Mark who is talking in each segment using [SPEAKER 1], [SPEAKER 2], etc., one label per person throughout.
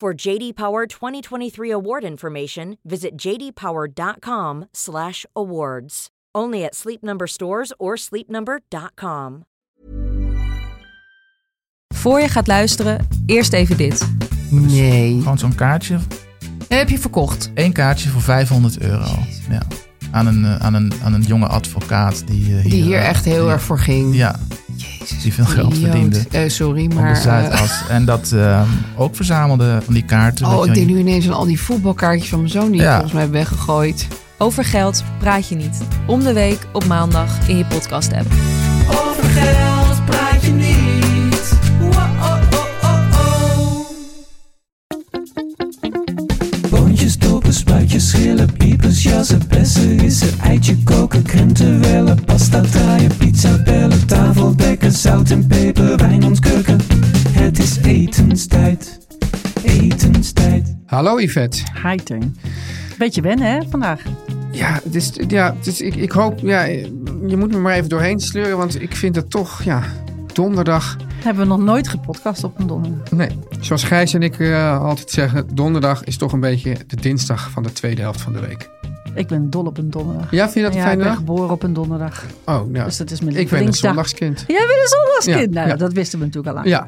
[SPEAKER 1] For JD Power 2023 award information, visit jdpower.com/awards. Only at Sleep Number stores or sleepnumber.com.
[SPEAKER 2] Voor je gaat luisteren, eerst even dit.
[SPEAKER 3] Nee.
[SPEAKER 4] dus Gewoon zo'n kaartje.
[SPEAKER 2] Heb je verkocht?
[SPEAKER 4] Eén kaartje voor 500 euro. Ja. Aan, een, eh, aan, een, aan een jonge advocaat die eh, hier...
[SPEAKER 3] Die hier
[SPEAKER 4] eh,
[SPEAKER 3] echt heel
[SPEAKER 4] ja,
[SPEAKER 3] erg voor ging.
[SPEAKER 4] Ja, die veel geld
[SPEAKER 3] Idioot.
[SPEAKER 4] verdiende.
[SPEAKER 3] Eh, sorry,
[SPEAKER 4] Op de
[SPEAKER 3] maar... eh,
[SPEAKER 4] Zuidas. En dat eh, ook verzamelde van die kaarten. weet
[SPEAKER 3] oh,
[SPEAKER 4] je
[SPEAKER 3] ik
[SPEAKER 4] wel.
[SPEAKER 3] denk nu ineens aan al die voetbalkaartjes van mijn zoon die ik
[SPEAKER 4] Ja.
[SPEAKER 3] volgens mij heb weggegooid.
[SPEAKER 2] Over geld praat je niet. Om de week op maandag in je podcast-app.
[SPEAKER 5] Over geld praat je niet. Wa-oh-oh-oh-oh. Boontjes, dopen, spuitjes, schillen, piepers, jassen, bessen, rissen, eitje koken, krenten wellen, pasta draaien, pizza bellen, tafel dekken, zout en peper, wijn ontkurken. Het is etenstijd, etenstijd.
[SPEAKER 6] Hallo Yvette.
[SPEAKER 7] Hi Teun. Beetje wennen hè vandaag.
[SPEAKER 6] Ja, het is, ja het is, ik, ik hoop, ja, je moet me maar even doorheen sleuren, want ik vind het toch, ja, donderdag.
[SPEAKER 7] Hebben we nog nooit gepodcast op een donderdag.
[SPEAKER 6] Nee, zoals Gijs en ik eh, altijd zeggen, donderdag is toch een beetje de dinsdag van de tweede helft van de week.
[SPEAKER 7] Ik ben dol op een donderdag.
[SPEAKER 6] Ja, vind je dat een
[SPEAKER 7] ja, ik
[SPEAKER 6] fijne
[SPEAKER 7] ben
[SPEAKER 6] dag?
[SPEAKER 7] geboren op een donderdag.
[SPEAKER 6] Oh, nou,
[SPEAKER 7] Dus dat
[SPEAKER 6] ik
[SPEAKER 7] is mijn
[SPEAKER 6] ben een
[SPEAKER 7] lievelingsdag.
[SPEAKER 6] zondagskind.
[SPEAKER 7] Jij bent een zondagskind.
[SPEAKER 6] Ja,
[SPEAKER 7] nou,
[SPEAKER 6] ja.
[SPEAKER 7] dat wisten we natuurlijk al lang.
[SPEAKER 6] Ja.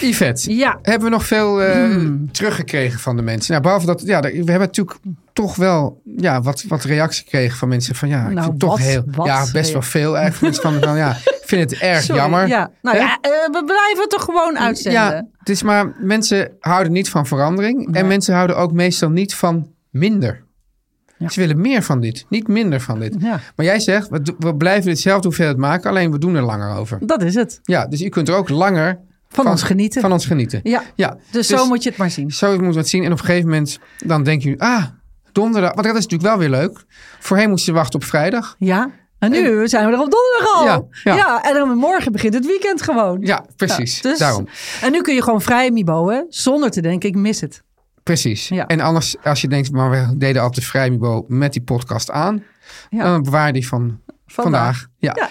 [SPEAKER 6] Yvette,
[SPEAKER 7] Ja,
[SPEAKER 6] hebben we nog veel eh,
[SPEAKER 7] Hmm.
[SPEAKER 6] teruggekregen van de mensen? Nou, behalve dat, ja, we hebben natuurlijk toch wel ja, wat, wat reactie gekregen van mensen van ja, ik
[SPEAKER 7] Nou,
[SPEAKER 6] vind toch
[SPEAKER 7] wat-
[SPEAKER 6] heel,
[SPEAKER 7] wat
[SPEAKER 6] ja, best
[SPEAKER 7] reactie?
[SPEAKER 6] wel veel eigenlijk. Mensen van, van ja, ik vind het erg
[SPEAKER 7] sorry.
[SPEAKER 6] jammer.
[SPEAKER 7] Ja. Nou
[SPEAKER 6] Hè?
[SPEAKER 7] ja, eh, we blijven toch gewoon uitzenden.
[SPEAKER 6] Ja, het is maar mensen houden niet van verandering. En mensen houden ook meestal niet van minder.
[SPEAKER 7] Ja. Mhm.
[SPEAKER 6] Ze willen meer van dit, niet minder van dit.
[SPEAKER 7] Ja.
[SPEAKER 6] Maar jij zegt, we, do- we blijven ditzelfde hoeveelheid maken, alleen we doen er langer over.
[SPEAKER 7] Dat is het.
[SPEAKER 6] Ja, dus u kunt er ook langer
[SPEAKER 7] Van, ons genieten.
[SPEAKER 6] Van ons genieten.
[SPEAKER 7] Ja.
[SPEAKER 6] Ja,
[SPEAKER 7] Dus, zo moet je het maar zien.
[SPEAKER 6] zo moet je het zien. En op een gegeven moment dan denk je, ah, donderdag. Want dat is natuurlijk wel weer leuk. Voorheen moest je wachten op vrijdag.
[SPEAKER 7] Ja. En nu zijn we er op donderdag al.
[SPEAKER 6] Ja, ja.
[SPEAKER 7] en dan morgen begint het weekend gewoon.
[SPEAKER 6] Ja, precies.
[SPEAKER 7] Ja, dus-
[SPEAKER 6] Daarom.
[SPEAKER 7] En nu kun je gewoon vrij miboen zonder te denken, ik mis het.
[SPEAKER 6] Precies.
[SPEAKER 7] Ja.
[SPEAKER 6] En anders, als je denkt, maar we deden altijd vrijmibo met die podcast aan.
[SPEAKER 7] Ja.
[SPEAKER 6] Dan bewaar je die van vandaag. Ja.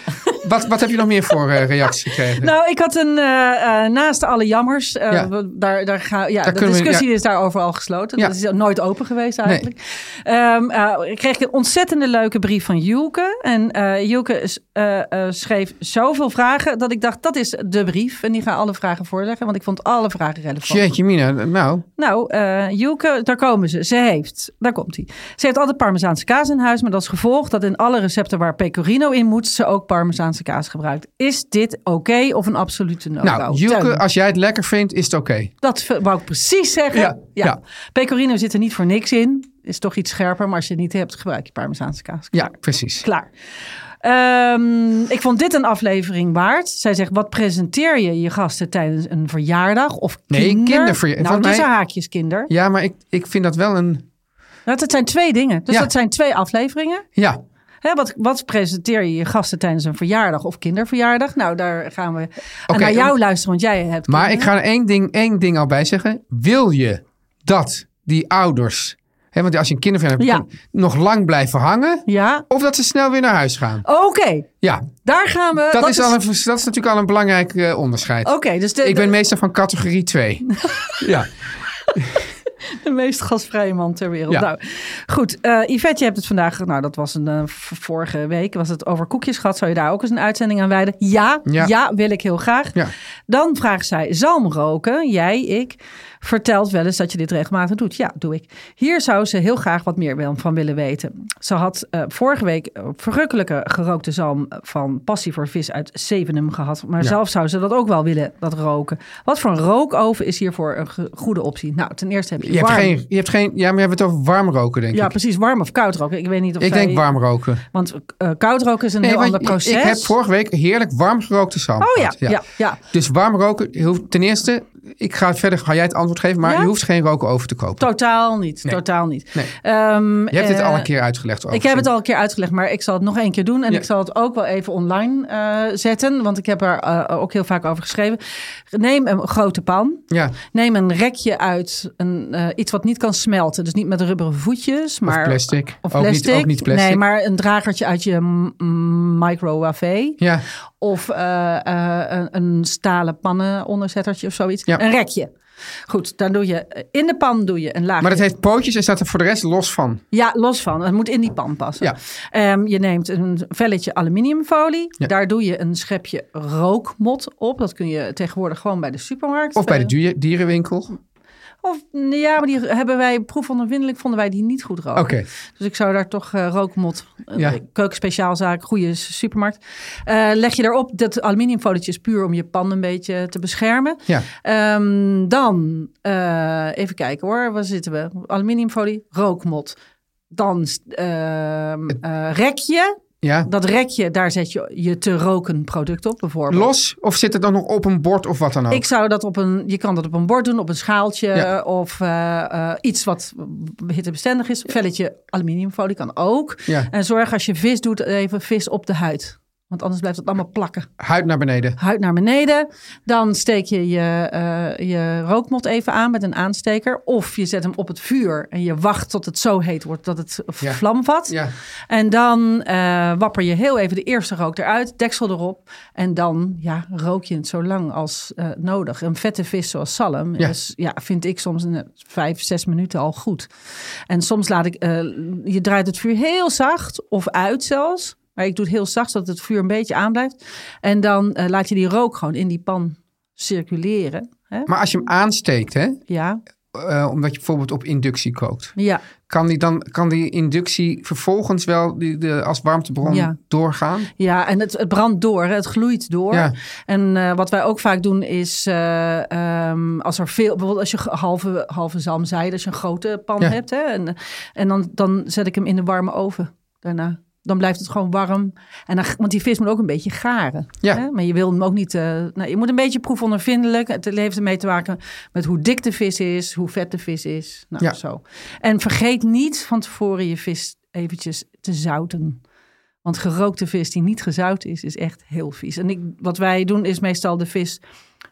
[SPEAKER 6] Wat, wat heb je nog meer voor eh, reacties gekregen?
[SPEAKER 7] Nou, ik had een, eh, eh, naast alle jammers, eh,
[SPEAKER 6] Ja.
[SPEAKER 7] we- daar, daar ga, ja, de
[SPEAKER 6] kunnen we-
[SPEAKER 7] discussie
[SPEAKER 6] ja.
[SPEAKER 7] is daarover al gesloten.
[SPEAKER 6] Ja.
[SPEAKER 7] Dat is nooit open geweest eigenlijk. Ehm, eh, ik kreeg een ontzettende leuke brief van Julke. En eh Julke is- eh, eh, schreef zoveel vragen dat ik dacht, dat is de brief. En die ga alle vragen voorleggen, want ik vond alle vragen relevant.
[SPEAKER 6] Jeetje mina, nou.
[SPEAKER 7] Nou, eh Joeke, daar komen ze. Ze heeft, daar komt hij. Ze heeft altijd parmezaanse kaas in huis, met als gevolg dat in alle recepten waar pecorino in moet, ze ook parmezaanse kaas gebruikt. Is dit oké of een absolute no-go?
[SPEAKER 6] Nou, Julke,
[SPEAKER 7] Teun,
[SPEAKER 6] als jij het lekker vindt, is het oké.
[SPEAKER 7] dat v- wou ik precies zeggen.
[SPEAKER 6] Ja, ja.
[SPEAKER 7] Pecorino zit er niet voor niks in. Is toch iets scherper, maar als je het niet hebt, gebruik je parmezaanse kaas.
[SPEAKER 6] Ja, precies.
[SPEAKER 7] Klaar. Ehm, ik vond dit een aflevering waard. Zij zegt, wat presenteer je je gasten tijdens een verjaardag of
[SPEAKER 6] Nee,
[SPEAKER 7] kinder?
[SPEAKER 6] kinderverja-
[SPEAKER 7] Nou,
[SPEAKER 6] volgens mij-
[SPEAKER 7] tussen haakjes kinder.
[SPEAKER 6] Ja, maar ik, ik vind dat wel een...
[SPEAKER 7] Nou, dat zijn twee dingen. Dus
[SPEAKER 6] Ja.
[SPEAKER 7] dat zijn twee afleveringen.
[SPEAKER 6] Ja,
[SPEAKER 7] Hè, wat, wat presenteer je je gasten tijdens een verjaardag of kinderverjaardag? Nou, daar gaan we en
[SPEAKER 6] Oké,
[SPEAKER 7] naar jou
[SPEAKER 6] en-
[SPEAKER 7] luisteren, want jij hebt
[SPEAKER 6] maar ik
[SPEAKER 7] kinderen.
[SPEAKER 6] ga er één ding, één ding al bij zeggen. Wil je dat die ouders... Hè, want als je een kinderverjaardag hebt, nog lang blijven hangen...
[SPEAKER 7] Ja,
[SPEAKER 6] of dat ze snel weer naar huis gaan.
[SPEAKER 7] oké.
[SPEAKER 6] Ja,
[SPEAKER 7] Daar gaan we.
[SPEAKER 6] dat, is, al een, vers- dat is natuurlijk al een belangrijk eh, onderscheid.
[SPEAKER 7] Oké, dus de,
[SPEAKER 6] ik ben meestal van categorie 2. ja.
[SPEAKER 7] de, de meest gastvrije man ter wereld.
[SPEAKER 6] Ja.
[SPEAKER 7] Nou, goed. eh, Yvette, je hebt het vandaag... Nou, dat was een, eh, v- vorige week. Was het over koekjes gehad. Zou je daar ook eens een uitzending aan wijden? Ja, ja,
[SPEAKER 6] Ja.
[SPEAKER 7] wil ik heel graag.
[SPEAKER 6] Ja.
[SPEAKER 7] Dan vraagt zij, zalm roken, jij, ik, vertelt wel eens dat je dit regelmatig doet. Ja, doe ik. Hier zou ze heel graag wat meer wel- van willen weten. Ze had eh, vorige week eh, verrukkelijke gerookte zalm eh, van Passie voor Vis uit Zevenum gehad. Maar zelf zou ze dat ook wel willen, dat roken. Wat voor een rookoven is hiervoor een ge- goede optie? Nou, ten eerste heb je,
[SPEAKER 6] Je hebt,
[SPEAKER 7] warm.
[SPEAKER 6] geen, je hebt geen... Ja, maar je hebt het over warm roken, denk
[SPEAKER 7] Ja,
[SPEAKER 6] ik.
[SPEAKER 7] precies, warm of koud roken. Ik weet niet of
[SPEAKER 6] Ik
[SPEAKER 7] zij-
[SPEAKER 6] denk warm roken.
[SPEAKER 7] Want eh, koud roken is een heel
[SPEAKER 6] want
[SPEAKER 7] ander proces.
[SPEAKER 6] Ik heb vorige week heerlijk warm gerookte zalm
[SPEAKER 7] Oh ja,
[SPEAKER 6] gehad.
[SPEAKER 7] ja, ja.
[SPEAKER 6] Dus warm roken, je hoeft- ten eerste, ik ga verder, ga jij het antwoord geven, maar
[SPEAKER 7] Ja?
[SPEAKER 6] je hoeft geen roken over te kopen.
[SPEAKER 7] Totaal niet,
[SPEAKER 6] Nee.
[SPEAKER 7] totaal niet.
[SPEAKER 6] Nee.
[SPEAKER 7] Ehm,
[SPEAKER 6] je hebt dit
[SPEAKER 7] eh,
[SPEAKER 6] al een keer uitgelegd.
[SPEAKER 7] Ik heb het al een keer uitgelegd, maar ik zal het nog één keer doen. En
[SPEAKER 6] Ja.
[SPEAKER 7] ik zal het ook wel even online eh, zetten, want ik heb er eh, ook heel vaak over geschreven. Neem een grote pan.
[SPEAKER 6] Ja,
[SPEAKER 7] Neem een rekje uit, een, eh, iets wat niet kan smelten. Dus niet met rubberen voetjes, maar...
[SPEAKER 6] of plastic.
[SPEAKER 7] Of
[SPEAKER 6] Ook,
[SPEAKER 7] plastic.
[SPEAKER 6] niet, ook niet plastic.
[SPEAKER 7] Nee, maar een dragertje uit je mm, microwave.
[SPEAKER 6] Ja,
[SPEAKER 7] Of eh, eh, een, een stalen pannenonderzettertje of zoiets.
[SPEAKER 6] Ja.
[SPEAKER 7] Een rekje. Goed, dan doe je in de pan doe je een laagje.
[SPEAKER 6] maar dat heeft pootjes en staat er voor de rest los van.
[SPEAKER 7] Ja, los van. Het moet in die pan passen.
[SPEAKER 6] Ja.
[SPEAKER 7] Ehm, je neemt een velletje aluminiumfolie.
[SPEAKER 6] Ja.
[SPEAKER 7] Daar doe je een schepje rookmot op. Dat kun je tegenwoordig gewoon bij de supermarkt.
[SPEAKER 6] Of bij de
[SPEAKER 7] eh,
[SPEAKER 6] dier- dierenwinkel.
[SPEAKER 7] Of ja, maar die hebben wij proefondervindelijk vonden wij die niet goed roken.
[SPEAKER 6] Oké,
[SPEAKER 7] Dus ik zou daar toch eh, rookmot, eh,
[SPEAKER 6] Ja.
[SPEAKER 7] keukenspeciaalzaak, goede s- supermarkt. Eh, leg je daarop dat aluminiumfolietje is puur om je pan een beetje te beschermen.
[SPEAKER 6] ja.
[SPEAKER 7] Ehm, dan, eh, even kijken hoor, waar zitten we? Aluminiumfolie, rookmot. Dan ehm eh, rekje.
[SPEAKER 6] ja.
[SPEAKER 7] Dat rekje, daar zet je je te roken product op bijvoorbeeld.
[SPEAKER 6] Los of zit het dan nog op een bord of wat dan ook?
[SPEAKER 7] Ik zou dat op een, je kan dat op een bord doen, op een schaaltje
[SPEAKER 6] Ja.
[SPEAKER 7] of eh, eh, iets wat hittebestendig is. Velletje aluminiumfolie kan ook.
[SPEAKER 6] Ja,
[SPEAKER 7] En zorg als je vis doet, even vis op de huid. Want anders blijft het allemaal plakken.
[SPEAKER 6] huid naar beneden.
[SPEAKER 7] Huid naar beneden. Dan steek je je, eh, je rookmot even aan met een aansteker. Of je zet hem op het vuur en je wacht tot het zo heet wordt dat het
[SPEAKER 6] Ja.
[SPEAKER 7] vlam vat.
[SPEAKER 6] Ja,
[SPEAKER 7] En dan eh, wapper je heel even de eerste rook eruit, deksel erop. En dan ja, rook je het zo lang als eh, nodig. Een vette vis zoals zalm
[SPEAKER 6] Ja.
[SPEAKER 7] is, ja, vind ik soms een, eh, vijf, zes minuten al goed. En soms laat ik, eh, je draait het vuur heel zacht of uit zelfs. Maar ik doe het heel zacht, zodat het vuur een beetje aanblijft. En dan eh, laat je die rook gewoon in die pan circuleren. Hè?
[SPEAKER 6] maar als je hem aansteekt, hè,
[SPEAKER 7] Ja,
[SPEAKER 6] eh, omdat je bijvoorbeeld op inductie kookt,
[SPEAKER 7] ja.
[SPEAKER 6] kan die, dan, kan die inductie vervolgens wel die, de, als warmtebron
[SPEAKER 7] Ja.
[SPEAKER 6] doorgaan?
[SPEAKER 7] Ja, en het, het brandt door, hè, het gloeit door.
[SPEAKER 6] Ja.
[SPEAKER 7] En eh, wat wij ook vaak doen is, eh, ehm, als er veel, bijvoorbeeld als je ge- halve, halve zalmzijde, als je een grote pan
[SPEAKER 6] Ja.
[SPEAKER 7] hebt, hè, en, en dan, dan zet ik hem in de warme oven daarna. Dan blijft het gewoon warm. En dan, want die vis moet ook een beetje garen.
[SPEAKER 6] Ja.
[SPEAKER 7] Hè? Maar je wil hem ook niet. eh, nou, je moet een beetje proefondervindelijk. Het heeft ermee te maken met hoe dik de vis is, hoe vet de vis is. Nou,
[SPEAKER 6] Ja.
[SPEAKER 7] zo. En vergeet niet van tevoren je vis eventjes te zouten. Want gerookte vis die niet gezout is, is echt heel vies. En ik, wat wij doen is meestal de vis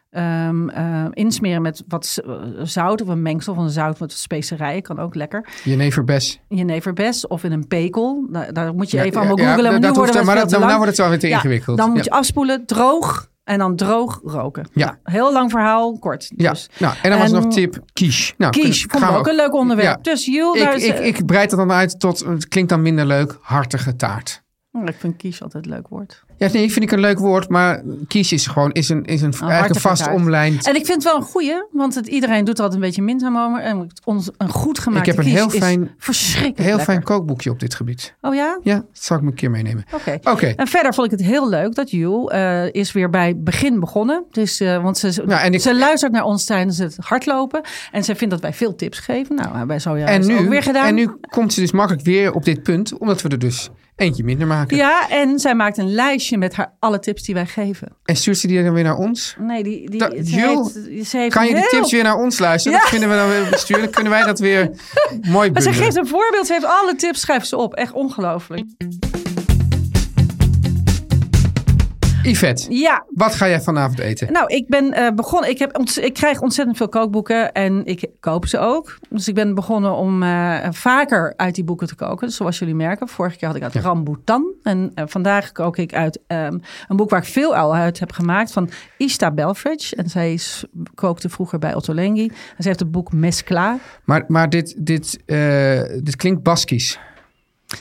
[SPEAKER 7] ehm, eh, insmeren met wat z- eh, zout of een mengsel van zout met specerijen. Kan ook lekker.
[SPEAKER 6] Jeneverbes.
[SPEAKER 7] Jeneverbes of in een pekel. Nou, daar moet je
[SPEAKER 6] Ja,
[SPEAKER 7] even allemaal
[SPEAKER 6] ja, ja,
[SPEAKER 7] googlen. maar
[SPEAKER 6] dat
[SPEAKER 7] nu
[SPEAKER 6] hoeft-
[SPEAKER 7] worden we
[SPEAKER 6] maar
[SPEAKER 7] veel
[SPEAKER 6] dat-
[SPEAKER 7] te
[SPEAKER 6] dan-
[SPEAKER 7] lang.
[SPEAKER 6] nou wordt het wel weer te ingewikkeld.
[SPEAKER 7] Ja, dan moet
[SPEAKER 6] Ja.
[SPEAKER 7] je afspoelen, droog en dan droog roken.
[SPEAKER 6] Ja.
[SPEAKER 7] Nou, heel lang verhaal, kort.
[SPEAKER 6] Ja,
[SPEAKER 7] Dus.
[SPEAKER 6] nou, en dan was er
[SPEAKER 7] En-
[SPEAKER 6] nog tip quiche. Nou,
[SPEAKER 7] Kies,
[SPEAKER 6] kunnen-
[SPEAKER 7] vond ik
[SPEAKER 6] gaan we
[SPEAKER 7] ook een leuk onderwerp.
[SPEAKER 6] Ja.
[SPEAKER 7] Dus Jules, daar
[SPEAKER 6] Ik, ik,
[SPEAKER 7] is-
[SPEAKER 6] ik breid het dan uit tot, het klinkt dan minder leuk, hartige taart.
[SPEAKER 7] Oh, ik vind kies altijd een leuk woord.
[SPEAKER 6] Ja, nee, vind ik een leuk woord, maar quiche is gewoon is een, is een, eigenlijk een
[SPEAKER 7] hartige
[SPEAKER 6] vast
[SPEAKER 7] taart.
[SPEAKER 6] omlijnd.
[SPEAKER 7] En ik vind het wel een goeie, want het, iedereen doet er altijd een beetje minzaam over. En ons, een goed gemaakte
[SPEAKER 6] Ik heb een
[SPEAKER 7] quiche
[SPEAKER 6] heel fijn-
[SPEAKER 7] is verschrikkelijk
[SPEAKER 6] Heel
[SPEAKER 7] lekker.
[SPEAKER 6] fijn kookboekje op dit gebied.
[SPEAKER 7] Oh ja?
[SPEAKER 6] Ja, dat zal ik me een keer meenemen.
[SPEAKER 7] Oké.
[SPEAKER 6] Oké,
[SPEAKER 7] En verder vond ik het heel leuk dat Jules eh, is weer bij begin begonnen. Dus, eh, want ze,
[SPEAKER 6] Nou, en ik-
[SPEAKER 7] ze luistert naar ons tijdens het hardlopen. En ze vindt dat wij veel tips geven. Nou, hebben wij zo ja
[SPEAKER 6] en,
[SPEAKER 7] ook
[SPEAKER 6] nu,
[SPEAKER 7] weer gedaan.
[SPEAKER 6] en nu komt ze dus makkelijk weer op dit punt, omdat we er dus eentje minder maken.
[SPEAKER 7] Ja, en zij maakt een lijstje met haar, alle tips die wij geven.
[SPEAKER 6] En stuurt ze die dan weer naar ons?
[SPEAKER 7] Nee, die, die,
[SPEAKER 6] Dat-
[SPEAKER 7] ze
[SPEAKER 6] Jules,
[SPEAKER 7] heeft, ze heeft
[SPEAKER 6] Kan je die
[SPEAKER 7] heel-
[SPEAKER 6] tips weer naar ons luisteren?
[SPEAKER 7] Ja.
[SPEAKER 6] Dat vinden we dan weer besturen. Dan kunnen wij dat weer mooi
[SPEAKER 7] Maar ze
[SPEAKER 6] bundelen.
[SPEAKER 7] geeft een voorbeeld. Ze heeft alle tips, schrijft ze op. Echt ongelooflijk.
[SPEAKER 6] Yvette,
[SPEAKER 7] Ja,
[SPEAKER 6] wat ga jij vanavond eten?
[SPEAKER 7] Nou, ik ben eh, begonnen. Ik, heb ont- ik krijg ontzettend veel kookboeken en ik koop ze ook. Dus ik ben begonnen om eh, vaker uit die boeken te koken. Dus Zoals jullie merken, vorige keer had ik uit Rambutan. En eh, vandaag kook ik uit ehm, een boek waar ik veel al uit heb gemaakt van Ista Belfridge. En zij is, kookte vroeger bij Ottolenghi. En ze heeft het boek Mescla.
[SPEAKER 6] Maar, maar dit, dit, eh, dit klinkt Baskisch.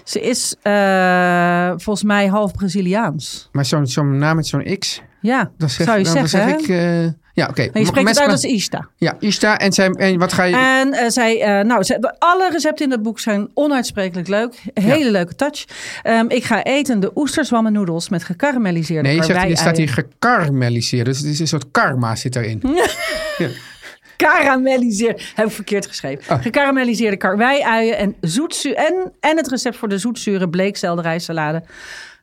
[SPEAKER 7] Ze is eh, volgens mij half Braziliaans.
[SPEAKER 6] Maar zo'n zo'n naam met zo'n X,
[SPEAKER 7] Ja,
[SPEAKER 6] dan zeg,
[SPEAKER 7] zou je
[SPEAKER 6] dan, dan
[SPEAKER 7] zeggen. hè?
[SPEAKER 6] zeg ik... eh, ja, oké.
[SPEAKER 7] Maar je spreekt het
[SPEAKER 6] Mes-
[SPEAKER 7] uit als Ista.
[SPEAKER 6] Ja, Ista. En, zij, en wat ga je...
[SPEAKER 7] En eh, zij, eh, nou, zij- de- alle recepten in dat boek zijn onuitsprekelijk leuk. Hele leuke touch. Ehm, ik ga eten de oesterzwammennoedels met gekarameliseerde
[SPEAKER 6] nee, je, zegt,
[SPEAKER 7] karwei-
[SPEAKER 6] je staat hier
[SPEAKER 7] eieren.
[SPEAKER 6] gekarameliseerd. Dus het is een soort karma zit daarin.
[SPEAKER 7] Hm. Karamelliseerd. Heb ik verkeerd geschreven.
[SPEAKER 6] Ah.
[SPEAKER 7] Gekarameliseerde karwei-uien en, zoetzu- en, en het recept voor de zoetzure bleekselderijsalade.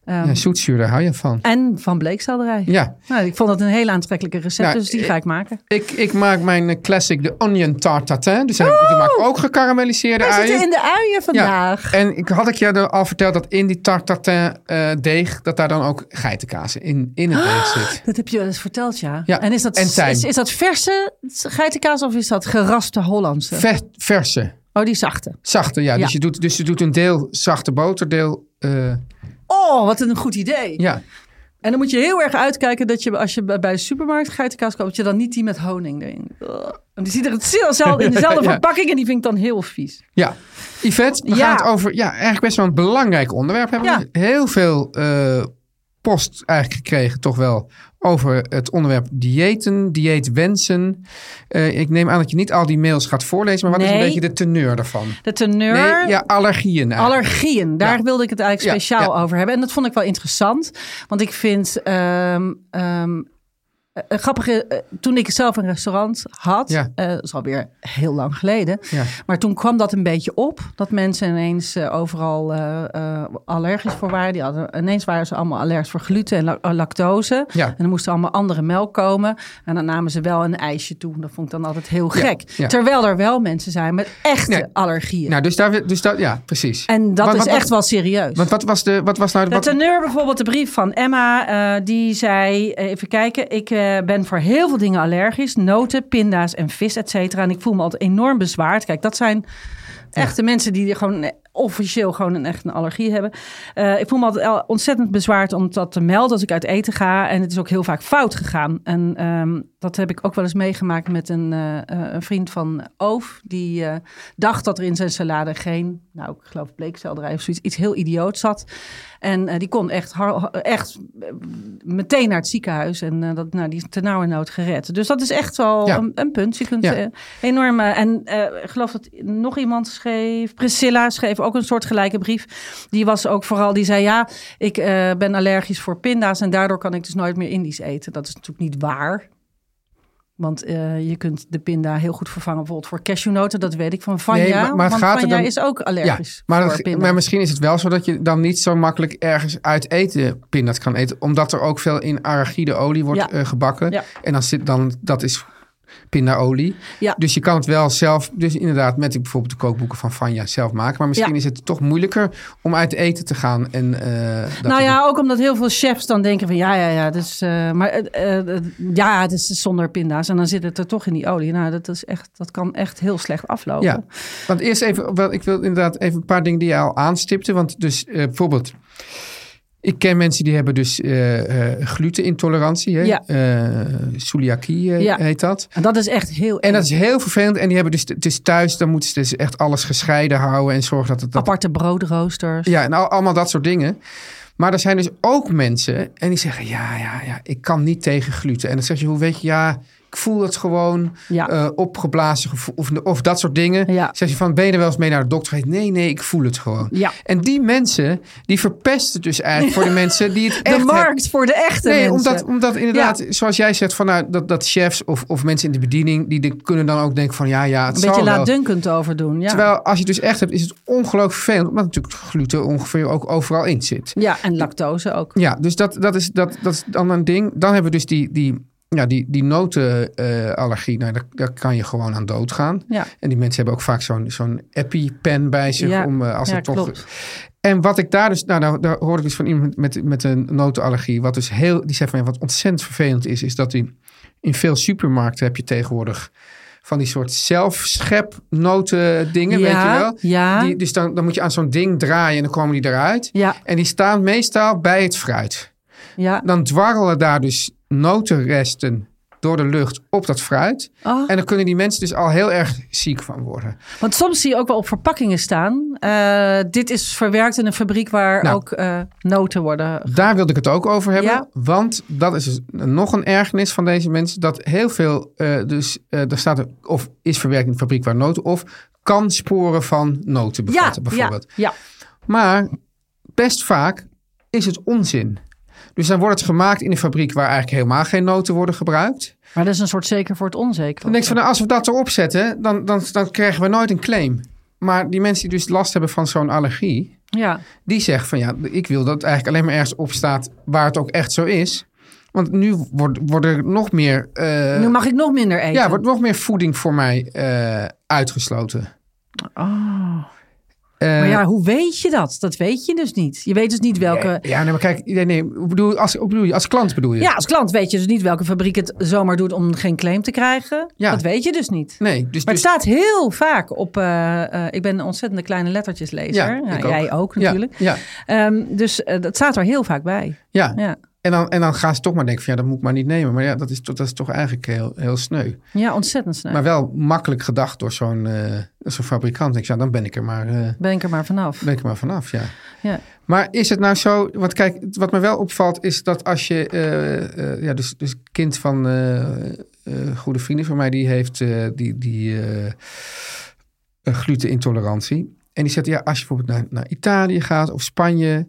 [SPEAKER 7] Ehm,
[SPEAKER 6] Ja, zoetzuur, daar hou je van.
[SPEAKER 7] En van bleekselderij.
[SPEAKER 6] Ja,
[SPEAKER 7] Nou, ik vond dat een heel aantrekkelijke recept,
[SPEAKER 6] Nou,
[SPEAKER 7] dus die ga ik maken.
[SPEAKER 6] ik, ik maak mijn eh, classic, de onion tart tatin. Dus dan dan maak ik ook gekarameliseerde
[SPEAKER 7] We
[SPEAKER 6] uien.
[SPEAKER 7] zitten in de uien vandaag.
[SPEAKER 6] En ik, had ik je er al verteld dat in die tart tatin eh, deeg, dat daar dan ook geitenkaas in, in het deeg zit.
[SPEAKER 7] Dat heb je wel eens verteld, ja.
[SPEAKER 6] Ja,
[SPEAKER 7] En is dat,
[SPEAKER 6] en tijm.
[SPEAKER 7] is, is dat verse geitenkaas of is dat geraspte Hollandse?
[SPEAKER 6] Ver, verse,
[SPEAKER 7] oh, die zachte.
[SPEAKER 6] zachte, ja.
[SPEAKER 7] Ja.
[SPEAKER 6] Dus, je doet, dus je doet een deel zachte boter, deel... eh,
[SPEAKER 7] Oh, wat een goed idee.
[SPEAKER 6] ja,
[SPEAKER 7] En dan moet je heel erg uitkijken dat je als je bij bij de supermarkt geitenkaas koopt, je dan niet die met honing erin. Ugh. En die zit er hetzelfde in dezelfde
[SPEAKER 6] Ja.
[SPEAKER 7] verpakking en die vind ik dan heel vies.
[SPEAKER 6] ja. Yvette, we
[SPEAKER 7] Ja.
[SPEAKER 6] gaan het over ja, eigenlijk best wel een belangrijk onderwerp. We hebben heel veel eh, post eigenlijk gekregen, toch wel, over het onderwerp diëten, dieetwensen. Eh, ik neem aan dat je niet al die mails gaat voorlezen, maar wat is
[SPEAKER 7] Nee.
[SPEAKER 6] een beetje de teneur daarvan?
[SPEAKER 7] De teneur.
[SPEAKER 6] Nee, ja, allergieën eigenlijk.
[SPEAKER 7] Allergieën, daar
[SPEAKER 6] Ja.
[SPEAKER 7] wilde ik het eigenlijk
[SPEAKER 6] Ja,
[SPEAKER 7] speciaal over hebben. En dat vond ik wel interessant. Want ik vind ehm ehm, eh, grappig, eh, toen ik zelf een restaurant had,
[SPEAKER 6] Ja.
[SPEAKER 7] eh, dat is alweer heel lang geleden.
[SPEAKER 6] Ja.
[SPEAKER 7] Maar toen kwam dat een beetje op, dat mensen ineens eh, overal eh, eh, allergisch voor waren. Die hadden, ineens waren ze allemaal allergisch voor gluten en la- eh, lactose.
[SPEAKER 6] Ja.
[SPEAKER 7] En er moest allemaal andere melk komen. En dan namen ze wel een ijsje toe. Dat vond ik dan altijd heel
[SPEAKER 6] Ja,
[SPEAKER 7] gek.
[SPEAKER 6] ja.
[SPEAKER 7] Terwijl er wel mensen zijn met echte
[SPEAKER 6] Nee.
[SPEAKER 7] allergieën.
[SPEAKER 6] Nou, dus daar, dus daar, ja, precies.
[SPEAKER 7] En dat
[SPEAKER 6] Wat-
[SPEAKER 7] is
[SPEAKER 6] wat-
[SPEAKER 7] echt wel serieus.
[SPEAKER 6] Want wat was, de, wat was nou de...
[SPEAKER 7] de
[SPEAKER 6] Wat,
[SPEAKER 7] teneur bijvoorbeeld, de brief van Emma, eh, die zei, eh, even kijken, ik eh, ben voor heel veel dingen allergisch. Noten, pinda's en vis, et cetera. En ik voel me altijd enorm bezwaard. Kijk, dat zijn echte mensen die gewoon eh, officieel gewoon een, echt een allergie hebben. Eh, ik voel me altijd el- ontzettend bezwaard om dat te melden als ik uit eten ga. En het is ook heel vaak fout gegaan. En ehm, dat heb ik ook wel eens meegemaakt met een, eh, eh, een vriend van Oof. Die eh, dacht dat er in zijn salade geen, nou ik geloof bleekselderij of zoiets, iets heel idioot zat. En eh, die kon echt, har- echt eh, meteen naar het ziekenhuis. En eh, dat, nou, die is ten nauwe nood gered. Dus dat is echt wel
[SPEAKER 6] Ja.
[SPEAKER 7] een, een punt. Je kunt
[SPEAKER 6] Ja.
[SPEAKER 7] eh, enorm. eh, en eh, ik geloof dat nog iemand schreef. Priscilla schreef ook een soortgelijke brief. Die was ook vooral, die zei ja, ik eh, ben allergisch voor pinda's. En daardoor kan ik dus nooit meer Indisch eten. Dat is natuurlijk niet waar. Want eh, je kunt de pinda heel goed vervangen, bijvoorbeeld voor cashewnoten. Dat weet ik van Vanja.
[SPEAKER 6] Nee, maar- maar het
[SPEAKER 7] want
[SPEAKER 6] gaat er
[SPEAKER 7] Vanja
[SPEAKER 6] dan-
[SPEAKER 7] is ook
[SPEAKER 6] ja,
[SPEAKER 7] allergisch
[SPEAKER 6] maar,
[SPEAKER 7] voor
[SPEAKER 6] dat,
[SPEAKER 7] pinda.
[SPEAKER 6] maar misschien is het wel zo dat je dan niet zo makkelijk ergens uit eten pindat kan eten. Omdat er ook veel in arachide olie wordt
[SPEAKER 7] Ja.
[SPEAKER 6] eh, gebakken.
[SPEAKER 7] Ja.
[SPEAKER 6] En dan zit dan, dat is pindaolie.
[SPEAKER 7] Ja.
[SPEAKER 6] Dus je kan het wel zelf, dus inderdaad met die- bijvoorbeeld de kookboeken van Vanja zelf maken. Maar misschien
[SPEAKER 7] Ja.
[SPEAKER 6] is het toch moeilijker om uit eten te gaan. En, eh, dat
[SPEAKER 7] Nou
[SPEAKER 6] te
[SPEAKER 7] ja, ook omdat heel veel chefs dan denken van ja, ja, ja, dus, eh, maar eh, eh, eh, ja, het is zonder pinda's en dan zit het er toch in die olie. Nou, dat, is echt, dat kan echt heel slecht aflopen.
[SPEAKER 6] Ja, want eerst even, wel, ik wil inderdaad even een paar dingen die je al aanstipte. Want dus eh, bijvoorbeeld, ik ken mensen die hebben dus eh, eh, glutenintolerantie. Hè?
[SPEAKER 7] Ja.
[SPEAKER 6] Eh, celiakie eh,
[SPEAKER 7] Ja.
[SPEAKER 6] heet dat.
[SPEAKER 7] En dat is echt heel
[SPEAKER 6] En dat
[SPEAKER 7] eng.
[SPEAKER 6] is heel vervelend. En die hebben dus, dus thuis, dan moeten ze dus echt alles gescheiden houden en zorgen dat het... Dat,
[SPEAKER 7] aparte broodroosters.
[SPEAKER 6] ja, en al- allemaal dat soort dingen. Maar er zijn dus ook mensen en die zeggen, ja, ja, ja, ik kan niet tegen gluten. En dan zeg je, hoe weet je, ja, ik voel het gewoon
[SPEAKER 7] Ja.
[SPEAKER 6] eh, opgeblazen gevoel of, of dat soort dingen.
[SPEAKER 7] Ja.
[SPEAKER 6] Zeg je van, ben je er wel eens mee naar de dokter geweest? Nee, nee, ik voel het gewoon.
[SPEAKER 7] Ja.
[SPEAKER 6] En die mensen, die verpesten dus eigenlijk voor de mensen die het echt...
[SPEAKER 7] de
[SPEAKER 6] hebben.
[SPEAKER 7] markt voor de echte
[SPEAKER 6] Nee,
[SPEAKER 7] mensen.
[SPEAKER 6] omdat, omdat inderdaad, zoals jij zegt, van, nou, dat, dat chefs of, of mensen in de bediening... die de- kunnen dan ook denken van, ja, ja, het
[SPEAKER 7] een
[SPEAKER 6] zal
[SPEAKER 7] beetje
[SPEAKER 6] wel.
[SPEAKER 7] laatdunkend overdoen. Ja.
[SPEAKER 6] Terwijl als je het dus echt hebt, is het ongelooflijk vervelend... omdat natuurlijk gluten ongeveer ook overal in zit.
[SPEAKER 7] ja, en lactose ook.
[SPEAKER 6] Ja, dus dat, dat, is, dat, dat is dan een ding. Dan hebben we dus die, die, ja, die, die notenallergie. nou, daar, daar kan je gewoon aan doodgaan.
[SPEAKER 7] Ja,
[SPEAKER 6] En die mensen hebben ook vaak zo'n zo'n EpiPen bij zich.
[SPEAKER 7] Ja,
[SPEAKER 6] Om, eh, als
[SPEAKER 7] ja
[SPEAKER 6] het toch...
[SPEAKER 7] klopt.
[SPEAKER 6] En wat ik daar dus... Nou, nou, daar hoorde ik dus van iemand met, met een notenallergie. Wat dus heel... Die zei van, ja, wat ontzettend vervelend is... is dat die, in veel supermarkten heb je tegenwoordig... van die soort zelfschepnoten dingen, weet
[SPEAKER 7] ja,
[SPEAKER 6] je wel?
[SPEAKER 7] Ja,
[SPEAKER 6] Die, dus dan, dan moet je aan zo'n ding draaien en dan komen die eruit.
[SPEAKER 7] ja,
[SPEAKER 6] En die staan meestal bij het fruit.
[SPEAKER 7] ja.
[SPEAKER 6] Dan dwarrelen daar dus notenresten door de lucht op dat fruit.
[SPEAKER 7] Oh.
[SPEAKER 6] En dan kunnen die mensen dus al heel erg ziek van worden.
[SPEAKER 7] Want soms zie je ook wel op verpakkingen staan. eh, dit is verwerkt in een fabriek waar
[SPEAKER 6] Nou.
[SPEAKER 7] ook eh, noten worden
[SPEAKER 6] Daar wilde ik het ook over hebben.
[SPEAKER 7] Ja.
[SPEAKER 6] Want dat is dus nog een ergernis van deze mensen. Dat heel veel, eh, dus eh er staat er, of is verwerkt in de fabriek waar noten... of kan sporen van noten bevatten bijvoorbeeld.
[SPEAKER 7] Ja, ja.
[SPEAKER 6] Maar best vaak is het onzin. Dus dan wordt het gemaakt in een fabriek waar eigenlijk helemaal geen noten worden gebruikt.
[SPEAKER 7] Maar dat is een soort zeker voor het onzeker.
[SPEAKER 6] Dan denk ik van, nou, als we dat erop zetten, dan, dan, dan krijgen we nooit een claim. Maar die mensen die dus last hebben van zo'n allergie,
[SPEAKER 7] Ja.
[SPEAKER 6] Die zegt van ja, ik wil dat het eigenlijk alleen maar ergens op staat waar het ook echt zo is. Want nu wordt, wordt er nog meer, eh,
[SPEAKER 7] nu mag ik nog minder eten.
[SPEAKER 6] ja, wordt nog meer voeding voor mij eh, uitgesloten.
[SPEAKER 7] Oh.
[SPEAKER 6] Eh,
[SPEAKER 7] Maar ja, hoe weet je dat? Dat weet je dus niet. Je weet dus niet welke...
[SPEAKER 6] Ja, nee, maar kijk, nee, nee, hoe bedoel, je- als, hoe bedoel je, als klant bedoel je?
[SPEAKER 7] Ja, als klant weet je dus niet welke fabriek het zomaar doet om geen claim te krijgen.
[SPEAKER 6] Ja.
[SPEAKER 7] Dat weet je dus niet.
[SPEAKER 6] Nee, dus,
[SPEAKER 7] Maar
[SPEAKER 6] dus-
[SPEAKER 7] het staat heel vaak op. eh, eh, ik ben een ontzettende kleine lettertjeslezer.
[SPEAKER 6] Ja,
[SPEAKER 7] Ja,
[SPEAKER 6] ik ook.
[SPEAKER 7] jij ook natuurlijk.
[SPEAKER 6] Ja, ja,
[SPEAKER 7] Ehm, dus eh, dat staat er heel vaak bij.
[SPEAKER 6] ja.
[SPEAKER 7] Ja.
[SPEAKER 6] En, dan, en dan gaan ze toch maar denken van ja, dat moet ik maar niet nemen. Maar ja, dat is, toch- dat is toch eigenlijk heel, heel sneu.
[SPEAKER 7] ja, ontzettend snel.
[SPEAKER 6] Maar wel makkelijk gedacht door zo'n eh, zo'n fabrikant. Ik zeg, ja, dan ben ik er maar... eh,
[SPEAKER 7] Ben ik er maar vanaf.
[SPEAKER 6] Ben ik er maar vanaf, ja.
[SPEAKER 7] Ja.
[SPEAKER 6] Maar is het nou zo, want kijk, wat me wel opvalt is dat als je, eh, eh, ja, dus, dus kind van eh, eh, goede vrienden van mij, die heeft eh, die, die eh, een glutenintolerantie. En die zegt, ja, als je bijvoorbeeld naar, naar Italië gaat of Spanje,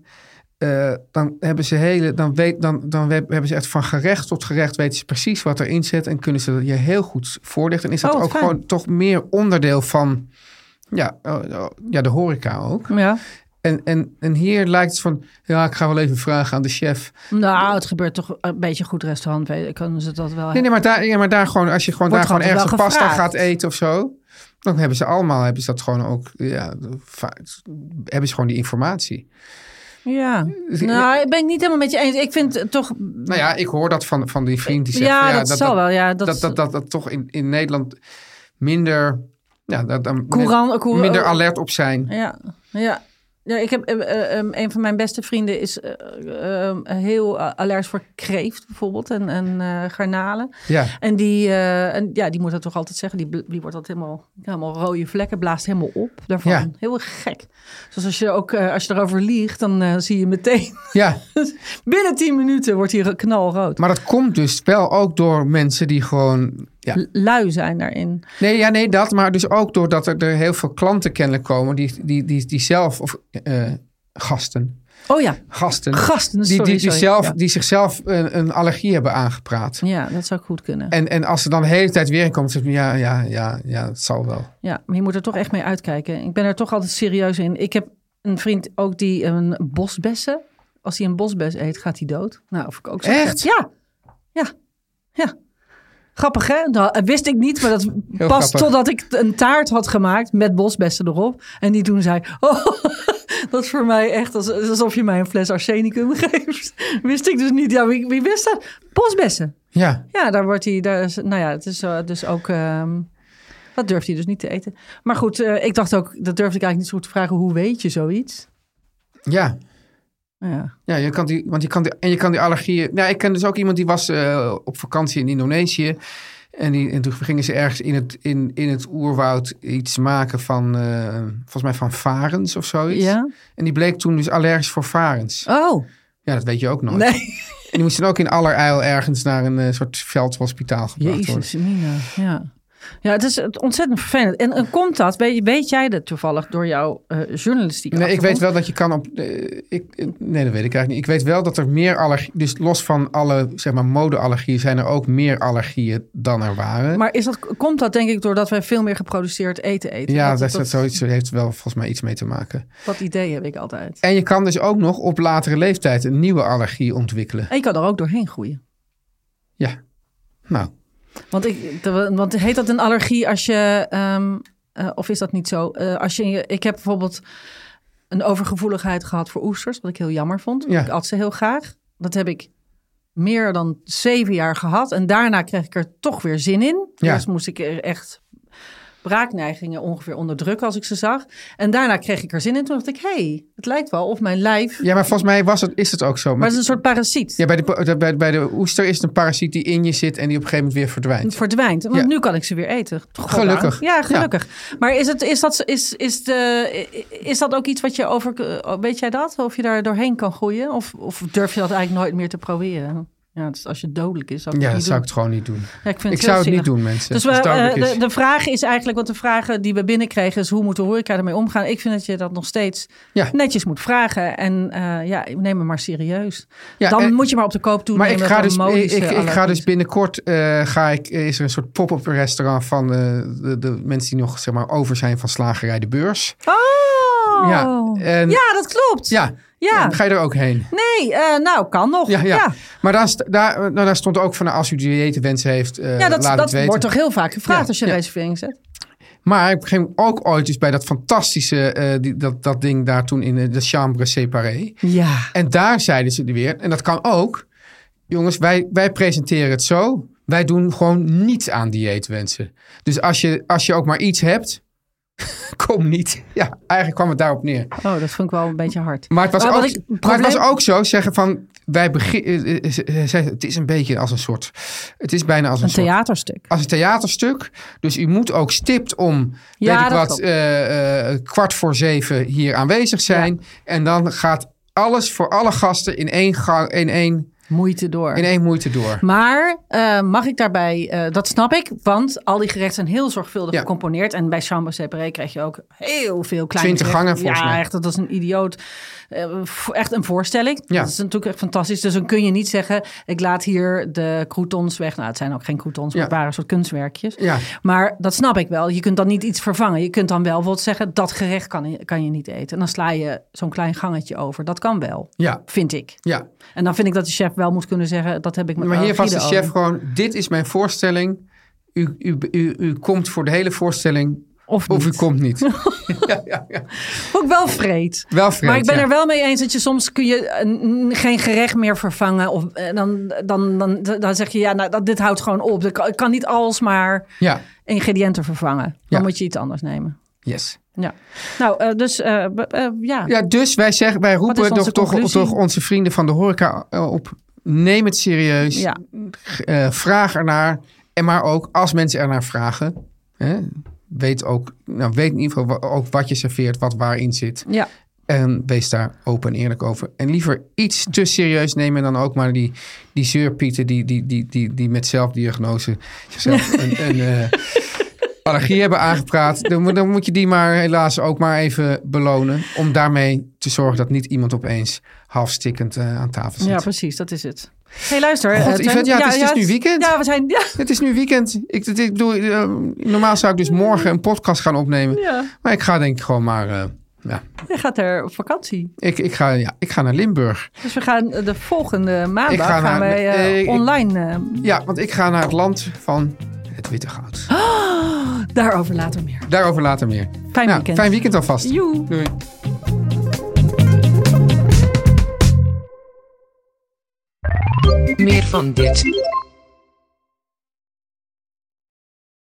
[SPEAKER 6] eh, dan hebben ze hele, dan, weet, dan, dan we- hebben ze echt van gerecht tot gerecht weten ze precies wat erin zit en kunnen ze je heel goed voorlichten. En is dat
[SPEAKER 7] Oh, wat
[SPEAKER 6] ook
[SPEAKER 7] fijn.
[SPEAKER 6] gewoon toch meer onderdeel van, ja, eh, eh, ja de horeca ook.
[SPEAKER 7] Ja.
[SPEAKER 6] En, en, en hier lijkt het van, ja, ik ga wel even vragen aan de chef.
[SPEAKER 7] Nou, het gebeurt toch een beetje goed restaurant. weet- Kunnen ze dat wel
[SPEAKER 6] Nee, nee, maar daar, ja, maar daar gewoon, als je gewoon, daar
[SPEAKER 7] Wordt
[SPEAKER 6] gewoon
[SPEAKER 7] altijd
[SPEAKER 6] ergens een
[SPEAKER 7] wel
[SPEAKER 6] pasta
[SPEAKER 7] gevraagd.
[SPEAKER 6] gaat eten of zo. Dan hebben ze allemaal, hebben ze dat gewoon ook, ja, va- hebben ze gewoon die informatie.
[SPEAKER 7] Ja.
[SPEAKER 6] Dus
[SPEAKER 7] Nou, ik ben ik niet helemaal met je eens. Ik vind het toch.
[SPEAKER 6] Nou ja, ik hoor dat van, van die vriend die zegt,
[SPEAKER 7] ja,
[SPEAKER 6] van,
[SPEAKER 7] dat, zal wel. Ja, dat,
[SPEAKER 6] Dat, dat, dat, dat, toch in, in Nederland minder, ja, dat, dan
[SPEAKER 7] Courant- courant-
[SPEAKER 6] minder alert op zijn.
[SPEAKER 7] Ja, ja. ja ik heb, eh, eh, ehm, een van mijn beste vrienden is eh, ehm, heel eh, alert voor kreeft bijvoorbeeld en, en eh, garnalen.
[SPEAKER 6] Ja,
[SPEAKER 7] En, die, eh, en ja, die moet dat toch altijd zeggen. Die, bl- die wordt altijd helemaal, helemaal rode vlekken, blaast helemaal op daarvan.
[SPEAKER 6] Ja.
[SPEAKER 7] Heel gek. Dus als je, ook, eh, als je erover liegt, dan eh, zie je meteen...
[SPEAKER 6] ja.
[SPEAKER 7] Binnen 10 minuten wordt hij knalrood.
[SPEAKER 6] Maar dat komt dus wel ook door mensen die gewoon ja,
[SPEAKER 7] L- Lui zijn daarin.
[SPEAKER 6] Nee, ja, nee, dat. Maar dus ook doordat er, er heel veel klanten kennelijk komen die, die, die, die zelf, of eh, gasten,
[SPEAKER 7] Oh ja,
[SPEAKER 6] gasten,
[SPEAKER 7] gasten,
[SPEAKER 6] die,
[SPEAKER 7] sorry.
[SPEAKER 6] die, die,
[SPEAKER 7] sorry.
[SPEAKER 6] zelf,
[SPEAKER 7] Ja. Mm.
[SPEAKER 6] die zichzelf een, een allergie hebben aangepraat.
[SPEAKER 7] Ja, dat zou goed kunnen.
[SPEAKER 6] En, en als ze dan de hele tijd weer in komen, dan zeg je, ja, ja, ja, ja, het zal wel.
[SPEAKER 7] Ja, maar je moet er toch echt mee uitkijken. Ik ben er toch altijd serieus in. Ik heb een vriend ook die een bosbessen. Als hij een bosbes eet, gaat hij dood. Nou, of ik ook zo.
[SPEAKER 6] Echt?
[SPEAKER 7] Ja. Ja. Ja. Grappig, hè? Dat wist ik niet, maar dat
[SPEAKER 6] Heel
[SPEAKER 7] pas
[SPEAKER 6] grappig.
[SPEAKER 7] totdat ik een taart had gemaakt met bosbessen erop. En die toen zei, oh, dat is voor mij echt als- alsof je mij een fles arsenicum geeft. Wist ik dus niet. Ja, wie, wie wist dat? Bosbessen.
[SPEAKER 6] Ja,
[SPEAKER 7] Ja, daar wordt hij. Daar is, nou ja, het is eh, dus ook. ehm, dat durft hij dus niet te eten. Maar goed, eh, ik dacht ook. Dat durfde ik eigenlijk niet zo goed te vragen. Hoe weet je zoiets?
[SPEAKER 6] ja.
[SPEAKER 7] Ja.
[SPEAKER 6] Ja, je kan die, want je kan die, en je kan die allergieën... Nou, ik ken dus ook iemand die was eh, op vakantie in Indonesië. En, die, en toen gingen ze ergens in het, in, in het oerwoud iets maken van, eh, volgens mij van varens of zoiets.
[SPEAKER 7] ja?
[SPEAKER 6] En die bleek toen dus allergisch voor varens.
[SPEAKER 7] Oh,
[SPEAKER 6] Ja, dat weet je ook nooit.
[SPEAKER 7] nee.
[SPEAKER 6] En die moest dan ook in allerijl ergens naar een eh, soort veldhospitaal gebracht worden.
[SPEAKER 7] Jezus, Mina. Ja. Ja, het is eh, ontzettend vervelend. En, en komt dat? Weet, weet jij dat toevallig door jouw eh journalistiek?
[SPEAKER 6] Nee, ik weet wel dat je kan op... eh, ik, eh, nee, dat weet ik eigenlijk niet. Ik weet wel dat er meer allergie... Dus los van alle, zeg maar, modeallergieën... zijn er ook meer allergieën dan er waren.
[SPEAKER 7] Maar is dat, komt dat denk ik doordat wij veel meer geproduceerd eten eten?
[SPEAKER 6] ja,
[SPEAKER 7] dat,
[SPEAKER 6] dat, dat,
[SPEAKER 7] dat,
[SPEAKER 6] zoiets heeft wel volgens mij iets mee te maken.
[SPEAKER 7] dat idee heb ik altijd.
[SPEAKER 6] En je kan dus ook nog op latere leeftijd... een nieuwe allergie ontwikkelen.
[SPEAKER 7] En je kan er ook doorheen groeien.
[SPEAKER 6] Ja. Nou,
[SPEAKER 7] Want, ik, te- want heet dat een allergie als je. ehm, eh, of is dat niet zo? Eh, als je, ik heb bijvoorbeeld een overgevoeligheid gehad voor oesters, wat ik heel jammer vond.
[SPEAKER 6] Ja.
[SPEAKER 7] Ik at ze heel graag. Dat heb ik meer dan zeven jaar gehad. En daarna kreeg ik er toch weer zin in.
[SPEAKER 6] Ja.
[SPEAKER 7] Dus moest ik er echt braakneigingen ongeveer onderdrukken als ik ze zag. En daarna kreeg ik er zin in. Toen dacht ik, hey, het lijkt wel of mijn lijf...
[SPEAKER 6] ja, maar volgens mij was het, is het ook zo.
[SPEAKER 7] Maar
[SPEAKER 6] Maar
[SPEAKER 7] het is een soort parasiet.
[SPEAKER 6] ja, bij, de, bij, bij de oester is het een parasiet die in je zit... en die op een gegeven moment weer verdwijnt.
[SPEAKER 7] verdwijnt. Want
[SPEAKER 6] Ja.
[SPEAKER 7] nu kan ik ze weer eten. Goddank.
[SPEAKER 6] Gelukkig.
[SPEAKER 7] Ja, gelukkig. Maar is, het, is, dat, is, is, de, is dat ook iets wat je over... eh, Weet jij dat? Of je daar doorheen kan groeien? Of, of durf je dat eigenlijk nooit meer te proberen? Ja, dus als je dodelijk is, zou ik
[SPEAKER 6] Ja,
[SPEAKER 7] het
[SPEAKER 6] dat
[SPEAKER 7] niet
[SPEAKER 6] zou ik
[SPEAKER 7] doen.
[SPEAKER 6] het gewoon niet doen.
[SPEAKER 7] Ja, ik vind
[SPEAKER 6] Ik
[SPEAKER 7] het heel
[SPEAKER 6] zou het niet
[SPEAKER 7] zielig.
[SPEAKER 6] doen, mensen.
[SPEAKER 7] Dus
[SPEAKER 6] Als
[SPEAKER 7] we,
[SPEAKER 6] het duidelijk
[SPEAKER 7] eh,
[SPEAKER 6] is.
[SPEAKER 7] de, de vraag is eigenlijk, want de vragen die we binnenkrijgen is hoe moet de horeca ermee omgaan? Ik vind dat je dat nog steeds
[SPEAKER 6] Ja.
[SPEAKER 7] netjes moet vragen. En eh, ja, neem me maar serieus.
[SPEAKER 6] Ja,
[SPEAKER 7] Dan
[SPEAKER 6] en-
[SPEAKER 7] moet je maar op de koop toe.
[SPEAKER 6] maar ik ga, dus, ik, ik,
[SPEAKER 7] eh,
[SPEAKER 6] ik ga dus binnenkort eh, ga ik, is er een soort pop-up restaurant van eh, de, de mensen die nog zeg maar, over zijn van slagerij de beurs.
[SPEAKER 7] Oh! Oh.
[SPEAKER 6] Ja, en-
[SPEAKER 7] ja, dat klopt.
[SPEAKER 6] Hm. Ja,
[SPEAKER 7] Ja.
[SPEAKER 6] dan ga je er ook heen.
[SPEAKER 7] Nee, eh, nou, kan nog.
[SPEAKER 6] Ja, ja.
[SPEAKER 7] ja.
[SPEAKER 6] Maar daar, st- daar, eh, nou, daar stond ook van, nou, als u dieetwensen heeft, eh
[SPEAKER 7] Ja, dat,
[SPEAKER 6] laat
[SPEAKER 7] dat
[SPEAKER 6] het weten.
[SPEAKER 7] wordt toch heel vaak gevraagd
[SPEAKER 6] Ja,
[SPEAKER 7] als je een
[SPEAKER 6] ja.
[SPEAKER 7] reservering zet.
[SPEAKER 6] Maar ik ging ook ooit dus bij dat fantastische, eh, die, dat, dat ding daar toen in eh, de chambre séparée.
[SPEAKER 7] Ja.
[SPEAKER 6] En daar zeiden ze weer, en dat kan ook. Jongens, wij, wij presenteren het zo. Wij doen gewoon niets aan dieetwensen. Dus als je, als je ook maar iets hebt, kom niet. Ja, eigenlijk kwam het daarop neer.
[SPEAKER 7] Oh, dat vond ik wel een beetje hard.
[SPEAKER 6] Maar het was,
[SPEAKER 7] Maar wat
[SPEAKER 6] ook,
[SPEAKER 7] ik-
[SPEAKER 6] maar
[SPEAKER 7] probleem-
[SPEAKER 6] het was ook zo zeggen van... Wij begin, eh, eh, ze- ze- het is een beetje als een soort... Het is bijna als een,
[SPEAKER 7] Een
[SPEAKER 6] soort...
[SPEAKER 7] theaterstuk.
[SPEAKER 6] Als een theaterstuk. Dus u moet ook stipt om,
[SPEAKER 7] Ja,
[SPEAKER 6] weet ik
[SPEAKER 7] dat
[SPEAKER 6] wat,
[SPEAKER 7] klopt.
[SPEAKER 6] eh, eh, kwart voor zeven hier aanwezig zijn. En dan gaat alles voor alle gasten in één, gang, in één,
[SPEAKER 7] Moeite door.
[SPEAKER 6] in één moeite door.
[SPEAKER 7] Maar eh, mag ik daarbij, eh, dat snap ik, want al die gerechten zijn heel zorgvuldig
[SPEAKER 6] Ja.
[SPEAKER 7] gecomponeerd. En bij Chambre Separé krijg je ook heel veel kleine
[SPEAKER 6] 20
[SPEAKER 7] gerechten.
[SPEAKER 6] gangen volgens
[SPEAKER 7] Ja,
[SPEAKER 6] mij.
[SPEAKER 7] echt, dat is een idioot. eh, vo- echt een voorstelling.
[SPEAKER 6] Ja.
[SPEAKER 7] Dat is natuurlijk echt fantastisch. Dus dan kun je niet zeggen, ik laat hier de croutons weg. Nou, het zijn ook geen croutons, maar
[SPEAKER 6] Ja.
[SPEAKER 7] het waren een soort kunstwerkjes.
[SPEAKER 6] Ja.
[SPEAKER 7] Maar dat snap ik wel. Je kunt dan niet iets vervangen. Je kunt dan wel bijvoorbeeld zeggen, dat gerecht kan, kan je niet eten. En dan sla je zo'n klein gangetje over. Dat kan wel,
[SPEAKER 6] Ja,
[SPEAKER 7] vind ik.
[SPEAKER 6] ja.
[SPEAKER 7] En dan vind ik dat de chef wel moet kunnen zeggen, dat heb ik met
[SPEAKER 6] Maar hier was de
[SPEAKER 7] Oh, Guido
[SPEAKER 6] chef
[SPEAKER 7] ook.
[SPEAKER 6] gewoon, dit is mijn voorstelling. U, u, u, u komt voor de hele voorstelling
[SPEAKER 7] Of,
[SPEAKER 6] of u
[SPEAKER 7] niet.
[SPEAKER 6] komt niet. ja, ja, ja.
[SPEAKER 7] Ook wel vreed.
[SPEAKER 6] Wel vreemd,
[SPEAKER 7] maar ik ben
[SPEAKER 6] ja.
[SPEAKER 7] er wel mee eens dat je soms kun je eh, n- geen gerecht meer vervangen. Of eh, dan, dan, dan, dan zeg je, ja, nou, dat, dit houdt gewoon op. Ik kan, ik kan niet alsmaar
[SPEAKER 6] Ja,
[SPEAKER 7] ingrediënten vervangen. Dan
[SPEAKER 6] Ja.
[SPEAKER 7] moet je iets anders nemen.
[SPEAKER 6] yes.
[SPEAKER 7] Ja. Nou, eh, dus eh, b- eh, ja.
[SPEAKER 6] Ja, dus wij, zeggen, wij
[SPEAKER 7] is
[SPEAKER 6] roepen
[SPEAKER 7] onze
[SPEAKER 6] toch, toch,
[SPEAKER 7] conclusie?
[SPEAKER 6] toch onze vrienden van de horeca eh, op. Neem het serieus.
[SPEAKER 7] Ja.
[SPEAKER 6] eh, vraag ernaar. En maar ook als mensen ernaar vragen. Hè, weet, ook, nou, weet in ieder geval wa- ook wat je serveert, wat waarin zit.
[SPEAKER 7] ja.
[SPEAKER 6] En wees daar open en eerlijk over. En liever iets te serieus nemen dan ook maar die, die zeurpieten die, die, die, die, die met zelfdiagnose zichzelf een, een eh, allergie hebben aangepraat. Dan, moet- dan moet je die maar helaas ook maar even belonen. Om daarmee te zorgen dat niet iemand opeens halfstikkend eh, aan tafel zit.
[SPEAKER 7] Ja, precies, dat is het. hey, luister.
[SPEAKER 6] Oh, God,
[SPEAKER 7] eh, Teun.
[SPEAKER 6] Yvette, ja, het is- het is nu
[SPEAKER 7] het-
[SPEAKER 6] weekend.
[SPEAKER 7] Ja, we zijn... Ja,
[SPEAKER 6] Het is nu weekend. Ik, dit- ik bedoel, eh, normaal zou ik dus morgen een podcast gaan opnemen.
[SPEAKER 7] ja.
[SPEAKER 6] Maar ik ga denk ik gewoon maar... eh, ja.
[SPEAKER 7] Je gaat er op vakantie.
[SPEAKER 6] Ik, ik, ga, ja, ik ga naar Limburg.
[SPEAKER 7] Dus we gaan eh, de volgende maandag
[SPEAKER 6] Ik ga
[SPEAKER 7] gaan
[SPEAKER 6] naar-
[SPEAKER 7] wij eh,
[SPEAKER 6] eh, ik-
[SPEAKER 7] online. eh,
[SPEAKER 6] Ja, want ik ga naar het land van het witte goud.
[SPEAKER 7] daarover later meer.
[SPEAKER 6] Daarover later meer.
[SPEAKER 7] Fijn
[SPEAKER 6] Nou,
[SPEAKER 7] weekend.
[SPEAKER 6] Fijn weekend alvast.
[SPEAKER 7] Joe.
[SPEAKER 6] Doei.
[SPEAKER 3] Meer van dit.